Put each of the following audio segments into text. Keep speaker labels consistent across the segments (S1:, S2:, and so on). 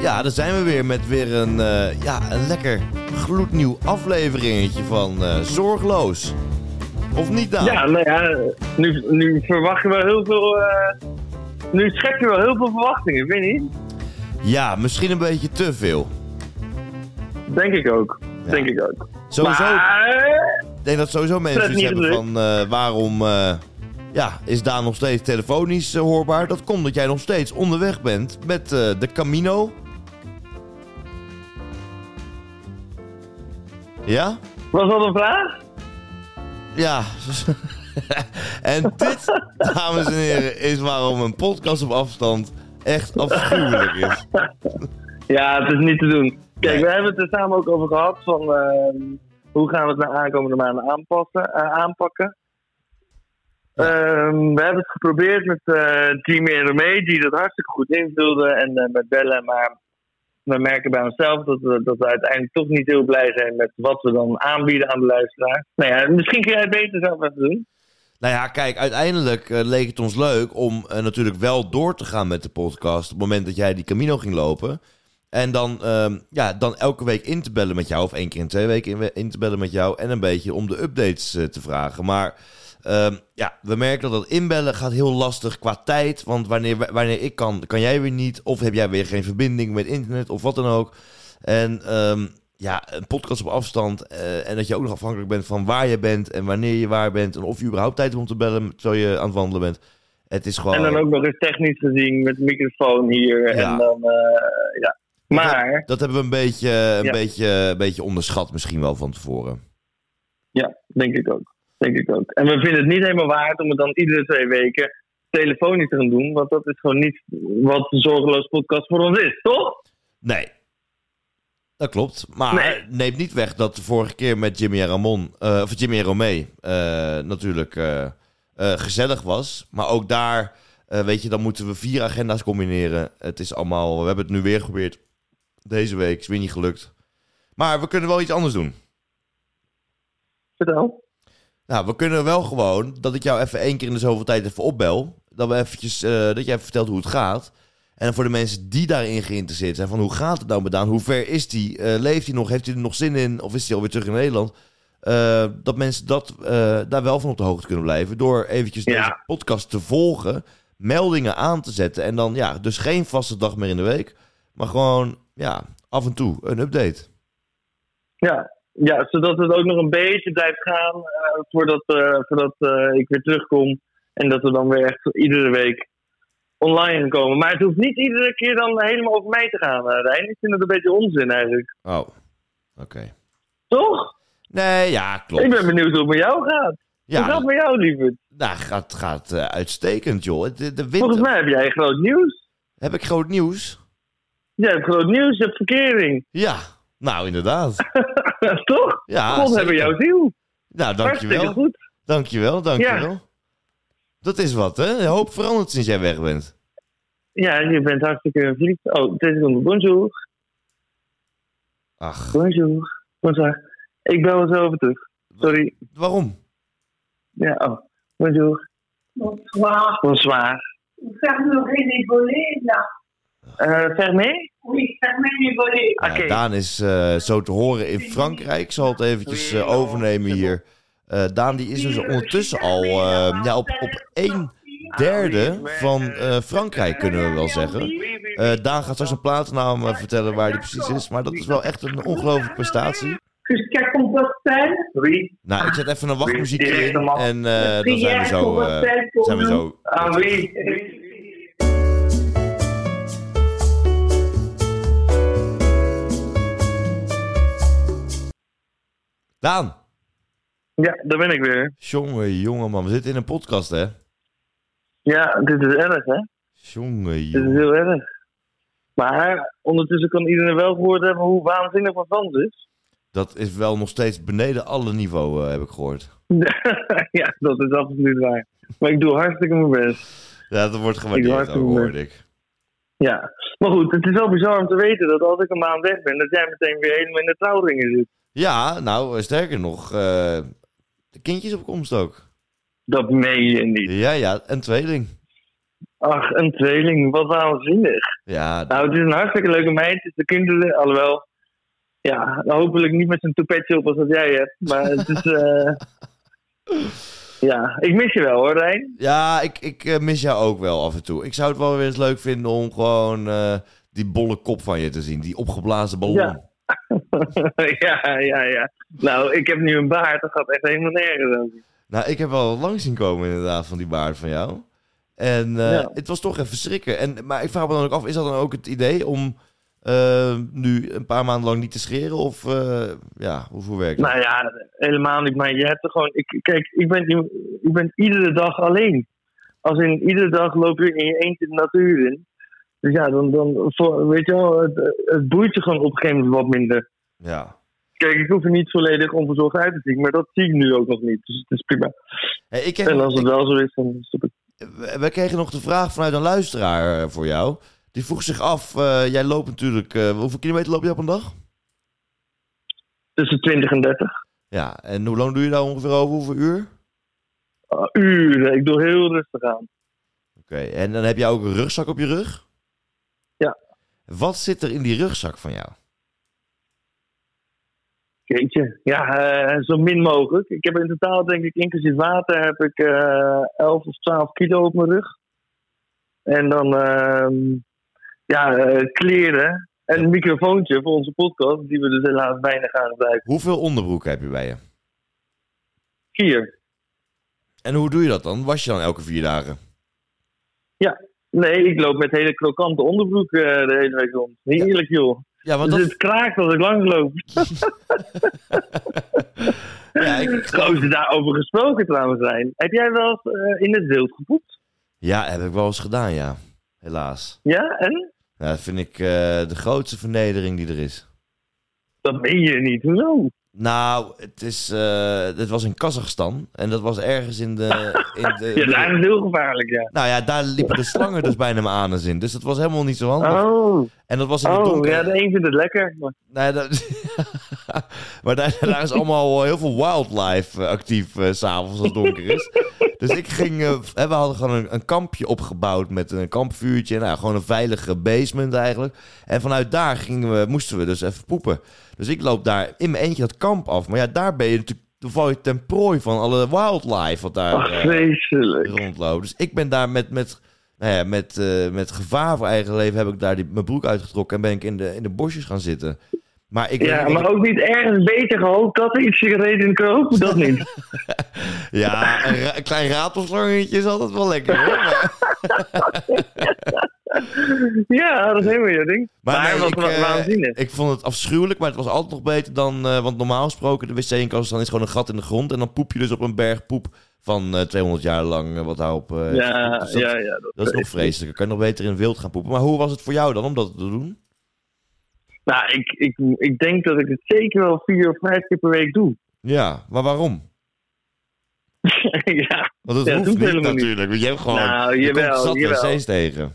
S1: Ja, daar zijn we weer met weer een, eh, ja, een lekker gloednieuw afleveringetje van eh, Zorgloos. Of niet, Daan?
S2: Ja, nou ja, nu, nu verwacht je wel heel veel. eh, nu schep je wel heel veel verwachtingen, vind je niet?
S1: Ja, misschien een beetje te veel.
S2: Denk ik ook.
S1: Ja.
S2: Denk ik ook.
S1: Sowieso,
S2: Maar, eh,
S1: ik denk dat sowieso mensen
S2: Fred
S1: iets hebben
S2: niet
S1: van eh, waarom eh, ja, is Daan nog steeds telefonisch eh, hoorbaar? Dat komt dat jij nog steeds onderweg bent met eh, de Camino. Ja?
S2: was dat een vraag?
S1: Ja. en dit, dames en heren, is waarom een podcast op afstand echt afschuwelijk is.
S2: Ja, het is niet te doen. Kijk,
S1: Nee.
S2: we hebben het er samen ook over gehad van ehm, hoe gaan we het nou aankomende maanden aanpassen, eh, aanpakken. Ehm, we hebben het geprobeerd met eh Team Eromee, die dat hartstikke goed invulde en eh, met bellen, maar we merken bij onszelf dat we, dat we uiteindelijk toch niet heel blij zijn met wat we dan aanbieden aan de luisteraar. Nou ja, misschien kun jij het beter zelf even doen.
S1: Nou ja, kijk, uiteindelijk eh, leek het ons leuk om eh, natuurlijk wel door te gaan met de podcast. Op het moment dat jij die Camino ging lopen. En dan, ehm, ja, dan elke week in te bellen met jou. Of één keer in twee weken in, in te bellen met jou. En een beetje om de updates eh, te vragen. Maar ehm, ja, we merken dat dat inbellen gaat heel lastig qua tijd. Want wanneer, wanneer ik kan, kan jij weer niet. Of heb jij weer geen verbinding met internet of wat dan ook. En ehm, ja, een podcast op afstand. eh, en dat je ook nog afhankelijk bent van waar je bent en wanneer je waar bent. En of je überhaupt tijd hebt om te bellen terwijl je aan het wandelen bent. Het is gewoon...
S2: En dan ook nog eens technisch gezien met microfoon hier
S1: Oh. Ja.
S2: en dan, eh, ja. Maar...
S1: Dat hebben we een beetje, een
S2: Ja.
S1: beetje, een beetje onderschat misschien wel van tevoren.
S2: Ja, denk ik ook. Denk ik ook. En we vinden het niet helemaal waard om het dan iedere twee weken telefonisch te gaan doen. Want dat is gewoon niet wat de Zorgeloos Podcast voor ons is, toch?
S1: Nee. Dat klopt. Maar
S2: Nee.
S1: neemt niet weg dat de vorige keer met Jimmy en Ramon, eh, of Jimmy en Romee, eh, natuurlijk eh, eh, gezellig was. Maar ook daar, eh, weet je, dan moeten we vier agenda's combineren. Het is allemaal, we hebben het nu weer geprobeerd deze week. Is weer niet gelukt. Maar we kunnen wel iets anders doen.
S2: Vertel.
S1: Nou, we kunnen wel gewoon dat ik jou even één keer in de zoveel tijd even opbel. Dat, we eventjes, eh, dat jij even vertelt hoe het gaat. En voor de mensen die daarin geïnteresseerd zijn, van hoe gaat het nou met Daan? Hoe ver is die? Eh, leeft hij nog? Heeft hij er nog zin in? Of is hij alweer terug in Nederland? Eh, dat mensen dat, eh, daar wel van op de hoogte kunnen blijven. Door eventjes
S2: Ja.
S1: deze podcast te volgen, meldingen aan te zetten. En dan, ja, dus geen vaste dag meer in de week. Maar gewoon, ja, af en toe een update.
S2: Ja. ja, zodat het ook nog een beetje blijft gaan eh, voordat, eh, voordat eh, ik weer terugkom. En dat we dan weer echt iedere week online gaan komen. Maar het hoeft niet iedere keer dan helemaal over mij te gaan, eh, Rijn. Ik vind het een beetje onzin eigenlijk.
S1: Oh, oké.
S2: Toch?
S1: Nee, ja, klopt.
S2: Ik ben benieuwd hoe het met jou gaat.
S1: ja,
S2: Hoe gaat het met jou, lieverd?
S1: Nou, gaat, gaat eh, uitstekend, joh. De, de
S2: Volgens
S1: winter.
S2: mij heb jij groot nieuws.
S1: Heb ik groot nieuws?
S2: Je hebt groot nieuws, je hebt verkering.
S1: Ja, nou inderdaad.
S2: Toch?
S1: Ja,
S2: God
S1: Ah, zeker.
S2: hebben jouw ziel.
S1: Nou,
S2: Hartstikke
S1: dankjewel.
S2: goed.
S1: Dankjewel, dankjewel. Dat is wat, hè? Een hoop veranderd sinds jij weg bent.
S2: Ja, je bent hartstikke verliefd. Oh, dit is een bonjour.
S1: Ach,
S2: Bonjour. Bonjour. Ik bel wel zo over terug. Sorry.
S1: waarom?
S2: Ja, oh. Bonjour.
S3: Bonsoir.
S2: Bonsoir.
S3: Vous fermerez les volets, là.
S2: Eh zeg mee?
S3: Oui, fermez les volets.
S1: Nou,
S2: Oké.
S1: Daan is eh, zo te horen in Frankrijk. Ik zal het eventjes eh, overnemen hier. Eh, Daan die is dus ondertussen al eh, ja, op, op één derde van eh, Frankrijk, kunnen we wel zeggen. Eh, Daan gaat straks een plaatsnaam eh, vertellen waar die precies is. Maar dat is wel echt een ongelooflijke prestatie.
S3: Jusqu'à Compostelle.
S2: Oui.
S1: Nou, ik zet even een wachtmuziekje in. En eh, dan zijn we
S3: Prière
S1: zo. eh,
S3: Compostelle pour
S1: zijn we
S3: nous.
S1: zo.
S2: Ah, oui.
S1: Daan!
S2: Ja, daar ben ik weer.
S1: Jongen, jongen, man. We zitten in een podcast, hè?
S2: Ja, dit is erg, hè?
S1: Jongen,
S2: Dit is
S1: jongen.
S2: heel erg. Maar ondertussen kan iedereen wel gehoord hebben hoe waanzinnig wat Frans is.
S1: Dat is wel nog steeds beneden alle niveau, eh, heb ik gehoord.
S2: ja, dat is absoluut waar. Maar ik doe hartstikke mijn best.
S1: Ja, dat wordt
S2: Ik
S1: gewaardeerd,
S2: hoor het
S1: ook,
S2: niet
S1: hoorde ik.
S2: Ja, maar goed, het is wel bizar om te weten dat als ik een maand weg ben, dat jij meteen weer helemaal in de trouwringen zit.
S1: Ja, nou, eh, sterker nog. eh, de kindjes op komst ook.
S2: Dat meen je niet.
S1: Ja, ja. En tweeling.
S2: Ach, een tweeling, wat waanzinnig.
S1: Ja,
S2: Nou, het is een hartstikke leuke meid. Dus de kinderen, alhoewel. Ja, hopelijk niet met zo'n toepetje op als dat jij hebt. Maar het is. eh, ja, ik mis je wel hoor, Rijn.
S1: ja ik, ik eh, mis jou ook wel af en toe. Ik zou het wel weer eens leuk vinden om gewoon eh, die bolle kop van je te zien. Die opgeblazen ballon.
S2: Ja. ja, ja, ja. Nou, ik heb nu een baard. Dat gaat echt helemaal nergens over.
S1: Nou, ik heb wel lang zien komen inderdaad van die baard van jou. En eh,
S2: Ja.
S1: het was toch even schrikken. En, maar ik vraag me dan ook af, is dat dan ook het idee om eh, nu een paar maanden lang niet te scheren? Of eh, ja, hoe, hoe werkt dat?
S2: Nou ja, helemaal niet. Maar je hebt er gewoon. Ik, kijk, ik ben, ik ben iedere dag alleen. Als in iedere dag loop je in je eentje de natuur in. Dus ja, dan, dan voor- weet je wel, het, het boeit je gewoon op een gegeven moment wat minder.
S1: Ja.
S2: Kijk, ik hoef er niet volledig onverzorgd uit te zien, maar dat zie ik nu ook nog niet. Dus het is prima.
S1: Hey, ik heb,
S2: En als het
S1: ik- eh,
S2: wel zo is, dan stop ik.
S1: we- we kregen nog de vraag vanuit een luisteraar eh, voor jou. Die vroeg zich af, eh, jij loopt natuurlijk... eh, hoeveel kilometer loop je op een dag?
S2: Tussen 20 en 30
S1: Ja, en hoe lang doe je daar ongeveer over? Hoeveel uur?
S2: Ah, uren. Ik doe heel rustig aan.
S1: Oké, en dan heb jij ook een rugzak op je rug?
S2: Ja.
S1: Wat zit er in die rugzak van jou?
S2: Jeetje. Ja, eh, zo min mogelijk. Ik heb in totaal, denk ik, inclusief water, heb ik eh 11 of 12 kilo op mijn rug. En dan, ehm, ja, eh, kleren. En een microfoontje voor onze podcast, die we dus helaas weinig gaan gebruiken.
S1: Hoeveel onderbroeken heb je bij je?
S2: Vier.
S1: En hoe doe je dat dan? Was je dan elke vier dagen?
S2: Nee, ik loop met hele krokante onderbroek eh, de hele week rond. Heerlijk, joh.
S1: Ja, want
S2: Dus
S1: dat...
S2: het kraakt als ik langs loop.
S1: Ja, ik- ik geloof-
S2: Gozer, daarover gesproken trouwens zijn. Heb jij wel eens eh, in het wild gepoept?
S1: ja, heb ik wel eens gedaan, ja. Helaas.
S2: Ja, en?
S1: Ja, dat vind ik eh, de grootste vernedering die er is.
S2: Dat meen je niet. Hoezo?
S1: Nou, het, is, eh, het was in Kazachstan. En dat was ergens in de... In de
S2: Ja, daar is het heel gevaarlijk, ja.
S1: Nou ja, daar liepen de slangen dus bijna mijn anus in. Dus dat was helemaal niet zo handig.
S2: Oh,
S1: En dat was in het
S2: oh
S1: donker.
S2: ja, de een vindt het lekker. maar-
S1: Nee, dat... maar daar, daar is allemaal heel veel wildlife eh, actief eh, s s'avonds als het donker is. dus ik ging... eh, hè, we hadden gewoon een, een kampje opgebouwd met een kampvuurtje. Nou, gewoon een veilige basement eigenlijk. En vanuit daar gingen we, moesten we dus even poepen. Dus ik loop daar in mijn eentje dat kamp af. Maar ja, daar ben je natuurlijk... Dan val je ten prooi van alle wildlife wat daar...
S2: Ach,
S1: eh,
S2: Oh, vreselijk.
S1: rondlopen. Dus ik ben daar met, met, nou ja, met, eh, met gevaar voor eigen leven heb ik daar die, mijn broek uitgetrokken en ben ik in de, in de bosjes gaan zitten. Maar ik
S2: Ja,
S1: weet-
S2: maar ook niet ergens beter gehoopt dat er iets gereden in kroop. Dat niet.
S1: ja, een, ra- een klein ratelslangetje is altijd wel lekker. Hoor. Maar-
S2: Ja, dat is helemaal je ding. Maar,
S1: nee,
S2: wat, wat
S1: eh,
S2: waanzinnig.
S1: ik vond het afschuwelijk, maar het was altijd nog beter dan... eh, want normaal gesproken, de wc in Kazachstan is gewoon een gat in de grond... en dan poep je dus op een berg poep van eh, 200 jaar lang eh, wat daarop... eh, is gepoept.
S2: Ja,
S1: Dus dat,
S2: ja, ja. dat-
S1: dat is nog vreselijker. Kan je nog beter in het wild gaan poepen. Maar hoe was het voor jou dan om dat te doen?
S2: Nou, ik, ik, ik denk dat ik het zeker wel vier of vijf keer per week doe.
S1: Ja, maar waarom?
S2: ja.
S1: Want het
S2: Ja,
S1: hoeft
S2: doet
S1: niet
S2: helemaal niet.
S1: natuurlijk. Want je hebt gewoon...
S2: nou,
S1: je komt
S2: jawel,
S1: zat
S2: jawel.
S1: wc's tegen.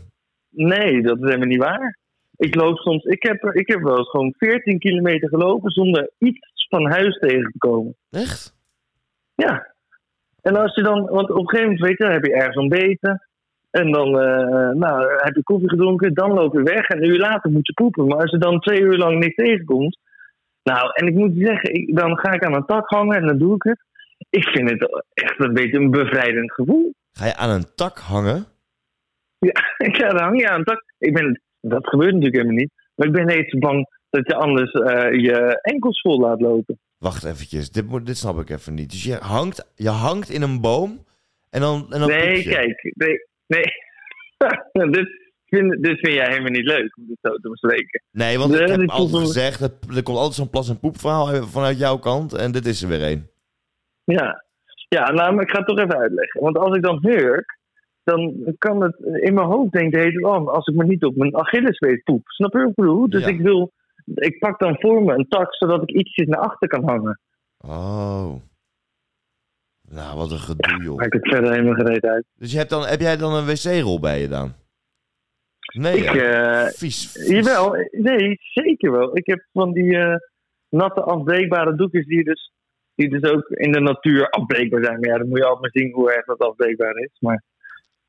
S2: Nee, dat is helemaal niet waar. Ik loop soms, ik heb, ik heb wel eens gewoon 14 kilometer gelopen zonder iets van huis tegen te komen.
S1: Echt?
S2: Ja. En als je dan, want op een gegeven moment weet je, dan heb je ergens ontbeten. En dan eh, nou, heb je koffie gedronken, dan loop je weg en een uur later moet je poepen. Maar als je dan twee uur lang niks tegenkomt. Nou, en ik moet je zeggen, ik, dan ga ik aan een tak hangen en dan doe ik het. Ik vind het echt een beetje een bevrijdend gevoel.
S1: Ga je aan een tak hangen?
S2: Ja, dan hang je aan een tak. Ik ben, dat gebeurt natuurlijk helemaal niet. Maar ik ben eens bang dat je anders eh, je enkels vol laat lopen.
S1: Wacht eventjes, dit, moet, dit snap ik even niet. Dus je hangt, je hangt in een boom en dan, en dan
S2: nee,
S1: poep je.
S2: kijk. Nee, nee. dit, vind, dit vind jij helemaal niet leuk om dit zo te bespreken.
S1: Nee, want
S2: Nee,
S1: ik heb
S2: dit
S1: altijd
S2: komt-
S1: gezegd, er er komt altijd zo'n plas- en poepverhaal vanuit jouw kant. En dit is er weer een.
S2: Ja. ja, nou, maar ik ga het toch even uitleggen. Want als ik dan hurk, dan kan het in mijn hoofd denken... Heet het, oh, als ik me niet op mijn Achillespees poep. Snap je wat ik bedoel? Dus
S1: Ja.
S2: ik wil... Ik pak dan voor me een tak, zodat ik ietsjes naar achter kan hangen.
S1: Oh. Nou, wat een gedoe, joh.
S2: Maakt het verder helemaal gereed uit.
S1: Dus je hebt dan, heb jij dan een wc-rol bij je dan? Nee,
S2: Ik,
S1: hè?
S2: eh,
S1: vies, vies.
S2: Jawel, nee, zeker wel. Ik heb van die eh, natte afbreekbare doekjes die dus, die dus ook in de natuur afbreekbaar zijn. Maar ja, dan moet je altijd maar zien hoe erg dat afbreekbaar is. Maar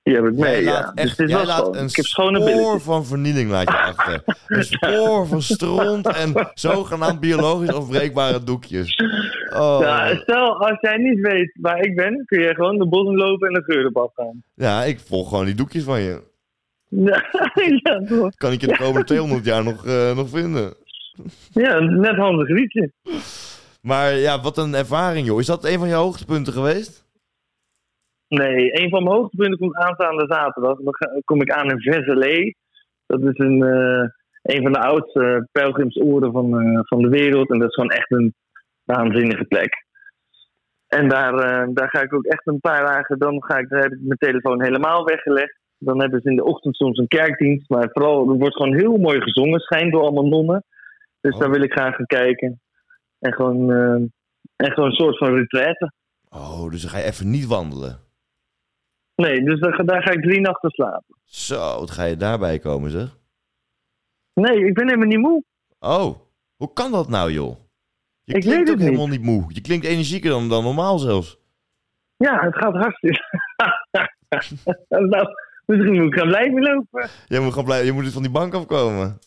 S2: Die heb ik mee,
S1: jij
S2: ja.
S1: laat
S2: Dus
S1: echt,
S2: het is
S1: jij
S2: wel
S1: laat
S2: schoon.
S1: een
S2: Ik heb schone
S1: spoor
S2: billetjes.
S1: van vernieling laat je achter. Een spoor van stront en zogenaamd biologisch afbreekbare doekjes. Oh.
S2: Ja, Nou, stel, als jij niet weet waar ik ben, kun je gewoon de bos lopen en de geurenbad gaan.
S1: Ja, ik volg gewoon die doekjes van je.
S2: Ja, ja, toch.
S1: Kan ik je de komende 200 jaar nog, eh, nog vinden?
S2: ja, een net handig liedje.
S1: Maar ja, wat een ervaring, joh. Is dat een van je hoogtepunten geweest?
S2: Nee, een van mijn hoogtepunten komt aanstaande zaterdag. Dan ga- kom ik aan in Vezelé. Dat is een, eh, een van de oudste pelgrimsoorden van, eh, van de wereld. En dat is gewoon echt een waanzinnige plek. En daar, eh, daar ga ik ook echt een paar dagen... Dan ga ik, daar heb ik mijn telefoon helemaal weggelegd. Dan hebben ze in de ochtend soms een kerkdienst. Maar vooral, er wordt gewoon heel mooi gezongen. Schijnt door allemaal nonnen. Dus
S1: Oh.
S2: daar wil ik graag gaan kijken. En gewoon, eh, en gewoon een soort van retraite.
S1: Oh, dus dan ga je even niet wandelen.
S2: Nee, dus daar, ga- daar ga ik drie nachten slapen.
S1: Zo, wat ga je daarbij komen, zeg.
S2: Nee, ik ben helemaal niet moe.
S1: Oh, hoe kan dat nou, joh? Je
S2: Ik
S1: klinkt
S2: weet
S1: ook
S2: het
S1: helemaal niet moe. Je klinkt energieker dan, dan normaal zelfs.
S2: Ja, het gaat hartstikke. nou, misschien moet ik gaan blijven lopen.
S1: Je moet, gewoon blij- je moet dus van die bank afkomen.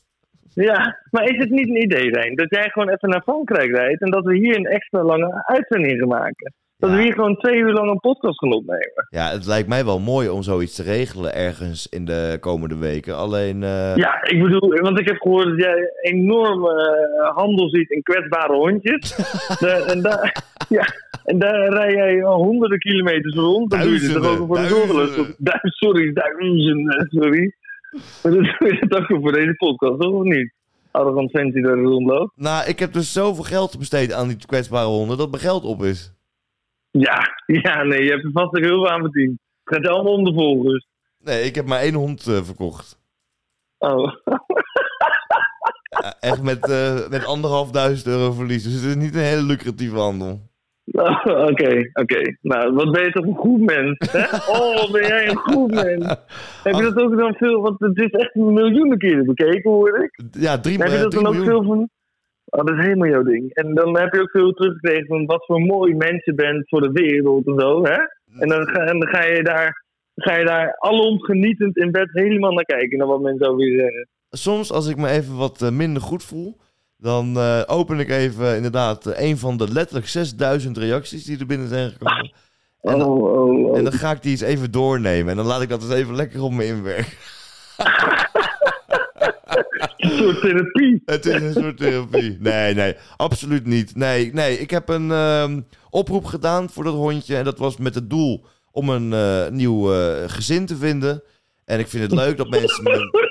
S2: Ja, maar is het niet een idee zijn dat jij gewoon even naar Frankrijk rijdt en dat we hier een extra lange uitzending gaan maken? Dat
S1: Ja.
S2: we hier gewoon twee uur lang een podcast gaan opnemen.
S1: Ja, het lijkt mij wel mooi om zoiets te regelen ergens in de komende weken. Alleen, eh,
S2: Ja, ik bedoel, want ik heb gehoord dat jij enorm eh, handel ziet in kwetsbare hondjes. De- en, daar, ja, en daar rij jij al honderden kilometers rond. Dan doe je het
S1: Duizenden,
S2: toch ook voor de
S1: duizenden.
S2: doorgelust. Du- sorry, duizenden, eh, sorry. Maar dat doe je het ook voor deze podcast, toch of niet? Arrogant vent die daar rondloopt.
S1: nou, ik heb dus zoveel geld besteed aan die kwetsbare honden dat mijn geld op is.
S2: Ja, ja, nee, je hebt er vast ook heel veel aan verdiend. Het gaat allemaal om de volgers.
S1: Nee, ik heb maar één hond eh, verkocht.
S2: Oh,
S1: Ja, echt met, eh met anderhalfduizend euro verlies. Dus het is niet een hele lucratieve handel.
S2: oké, oké. Nou, wat ben je toch een goed mens, hè? Oh, wat ben jij een goed mens. Heb je dat ook dan veel, want het is echt miljoenen keren bekeken, hoor ik.
S1: Ja, drie,
S2: heb je
S1: eh,
S2: dat
S1: drie
S2: dan ook
S1: miljoen.
S2: veel van... Oh, dat is helemaal jouw ding. En dan heb je ook veel teruggekregen van wat voor mooi mens je bent voor de wereld en zo, hè? En dan ga, en dan ga je daar... Ga je daar alom genietend in bed helemaal naar kijken, naar wat mensen over je zeggen.
S1: soms als ik me even wat eh, minder goed voel, dan eh, open ik even eh, inderdaad eh, een van de letterlijk 6000 reacties die er binnen zijn gekomen. En dan-
S2: Oh, oh, oh.
S1: En dan ga ik die eens even doornemen en dan laat ik dat eens even lekker op me inwerken.
S2: Een soort therapie.
S1: Het is een soort therapie. Nee, nee, absoluut niet. Nee, nee, ik heb een ehm, oproep gedaan voor dat hondje en dat was met het doel om een eh, nieuw eh, gezin te vinden. En ik vind het leuk dat mensen... me-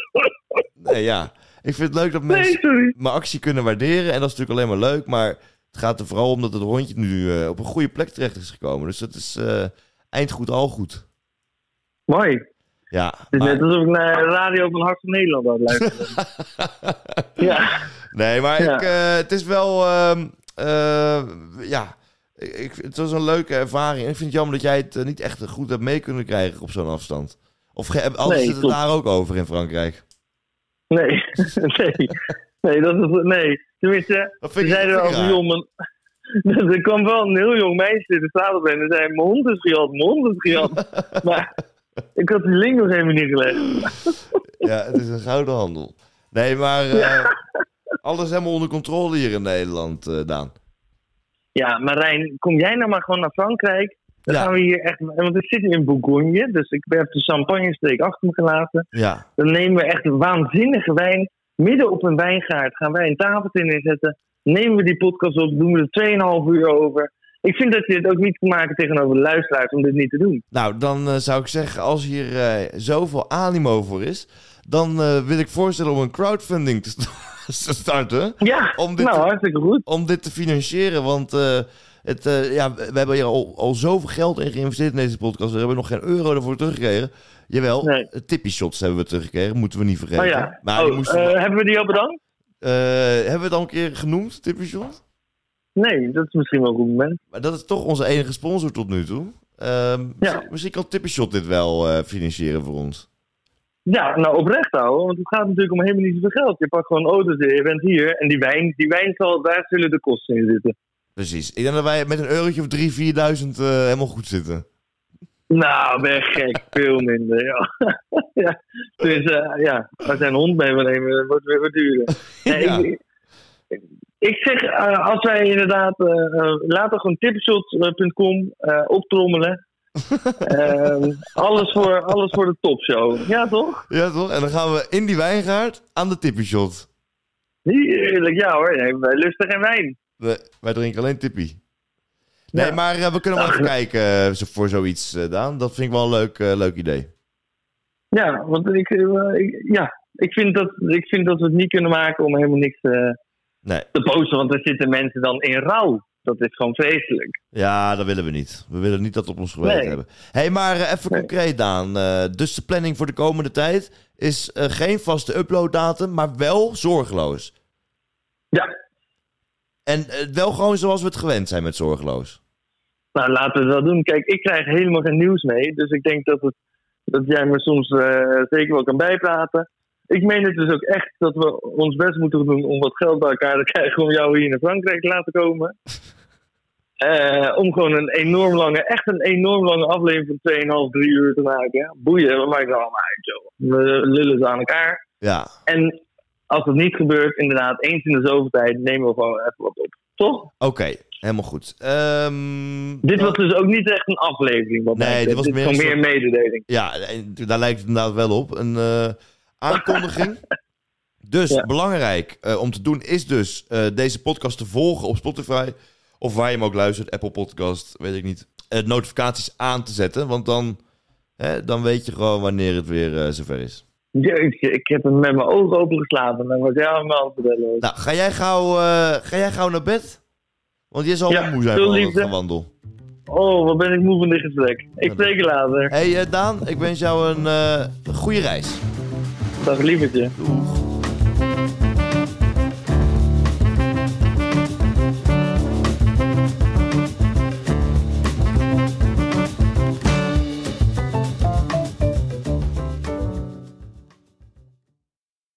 S1: Nee, ja. Ik vind het leuk dat mensen...
S2: Nee, sorry.
S1: mijn actie kunnen waarderen. En dat is natuurlijk alleen maar leuk. Maar het gaat er vooral om dat het hondje nu eh, op een goede plek terecht is gekomen. Dus dat is eh, eind goed, al goed.
S2: Mooi.
S1: Ja,
S2: Het is
S1: maar-
S2: net alsof ik naar radio van Hart van Nederland aan het luisteren ben. ja.
S1: nee, maar
S2: Ja.
S1: ik, eh, het is wel... ehm, eh, ja, ik- ik, het was een leuke ervaring. En ik vind het jammer dat jij het eh, niet echt goed hebt mee kunnen krijgen op zo'n afstand. Of ge- alles
S2: Nee,
S1: zit het
S2: klopt.
S1: daar ook over in Frankrijk.
S2: Nee, nee. Nee, dat is... Nee. Tenminste,
S1: Dat vind
S2: ze
S1: ik, dat vind
S2: zeiden
S1: ik
S2: al
S1: raar.
S2: jong... mijn- Er kwam wel een heel jong meisje de straat op en ze zei... Mijn hond is gejat, mijn hond is gejat. maar ik had die link nog helemaal niet gelegd.
S1: Ja, het is een gouden handel. Nee, maar eh, alles helemaal onder controle hier in Nederland, eh, Daan.
S2: Ja, maar Rijn, kom jij nou maar gewoon naar Frankrijk. Dan
S1: Ja.
S2: gaan we hier echt... Want ik zit nu in Bourgogne, dus ik heb de champagnestreek achter me gelaten.
S1: Ja.
S2: Dan nemen we echt een waanzinnige wijn. Midden op een wijngaard gaan wij een tafeltje neerzetten. Nemen we die podcast op, doen we er 2,5 uur over. Ik vind dat je het ook niet kan maken tegenover de luisteraars om dit niet te doen.
S1: Nou, dan eh, zou ik zeggen, als hier eh, zoveel animo voor is, dan eh, wil ik voorstellen om een crowdfunding te, sta- te starten.
S2: Ja,
S1: Om dit
S2: nou
S1: te-
S2: hartstikke goed.
S1: Om dit te financieren, want eh, het, eh, ja, we we hebben hier al, al zoveel geld in geïnvesteerd in deze podcast. We hebben nog geen euro ervoor teruggekregen. Jawel,
S2: Nee.
S1: eh, tippie shots hebben we teruggekregen, moeten we niet vergeten.
S2: Oh ja,
S1: Maar die
S2: oh,
S1: moesten we-
S2: eh, hebben we die al bedankt?
S1: eh, hebben we het al een keer genoemd, tippie shots?
S2: Nee, dat is misschien wel een goed moment.
S1: Maar dat is toch onze enige sponsor tot nu toe. Ehm, misschien- Misschien kan tippie shot dit wel eh, financieren voor ons.
S2: Ja, nou oprecht houden, want het gaat natuurlijk om helemaal niet zoveel geld. Je pakt gewoon auto's, je bent hier en die wijn, die wijn zal, daar zullen de kosten in zitten.
S1: Precies. Ik denk dat wij met een eurotje of drie, vierduizend eh, helemaal goed zitten.
S2: Nou, ben je gek. Veel minder, ja. ja. Dus eh, ja, als hij een hond mee wil nemen, dat wordt weer wat duurder. Nee,
S1: Ja.
S2: ik, ik zeg, eh, als wij inderdaad, eh eh, laten we gewoon tipshot.com eh optrommelen. Ehm, alles, voor, alles voor de topshow. Ja, toch?
S1: Ja, toch? En dan gaan we in die wijngaard aan de tippie shot.
S2: Heerlijk, ja hoor. Nee, wij lusten geen wijn.
S1: We- wij drinken alleen tippie. Nee,
S2: Ja.
S1: maar eh, we kunnen wel even kijken eh, zo- voor zoiets, eh, Daan. Dat vind ik wel een leuk, eh, leuk idee.
S2: Ja, want ik, eh, ik- ja, ik, vind dat, ik vind dat we het niet kunnen maken om helemaal niks eh,
S1: Nee.
S2: te posten. Want er zitten mensen dan in rouw. Dat is gewoon vreselijk.
S1: Ja, dat willen we niet. We willen niet dat op ons geweten
S2: Nee.
S1: hebben. hey, maar eh, even
S2: Nee.
S1: concreet, Daan. Eh, dus de planning voor de komende tijd is eh, geen vaste uploaddatum, maar wel zorgeloos.
S2: Ja,
S1: En eh, wel gewoon zoals we het gewend zijn met zorgeloos.
S2: Nou, laten we dat doen. Kijk, ik krijg helemaal geen nieuws mee. Dus ik denk dat, het, dat jij me soms eh, zeker wel kan bijpraten. Ik meen het dus ook echt dat we ons best moeten doen om wat geld bij elkaar te krijgen. om jou hier naar Frankrijk te laten komen. Eh, om gewoon een enorm lange, echt een enorm lange aflevering van 2,5, 3 uur te maken. hè. Boeien, we maken het allemaal uit, joh. We lullen ze aan elkaar.
S1: Ja,
S2: En als dat niet gebeurt, inderdaad, eens in de zoveel tijd nemen we gewoon even wat op. Toch?
S1: oké. Helemaal goed. Ehm,
S2: Dit
S1: dan-
S2: was dus ook niet echt een aflevering. Wat
S1: Nee,
S2: mij
S1: dit
S2: betreft.
S1: was
S2: dit
S1: meer
S2: is gewoon meer
S1: een
S2: een mededeling.
S1: Ja, en daar lijkt het inderdaad wel op. Een eh, aankondiging. Dus
S2: Ja.
S1: belangrijk eh, om te doen is dus eh, deze podcast te volgen op Spotify. Of waar je hem ook luistert, Apple Podcast, weet ik niet. Eh, notificaties aan te zetten, want dan, hè, dan weet je gewoon wanneer het weer eh, zover is.
S2: Jeetje, ik heb hem met mijn ogen open geslapen. Dan was jij aan mijn hand te bellen.
S1: Nou, ga jij gauw, eh, ga jij gauw naar bed? Want je zal
S2: Ja,
S1: wel moe zijn
S2: veel
S1: van het
S2: liefde.
S1: gewandel.
S2: Oh, wat ben ik moe van dit gesprek. Ik spreek je later.
S1: Hé hey, Daan, ik wens jou een eh, goede reis.
S2: Dag lievertje.
S1: Doeg.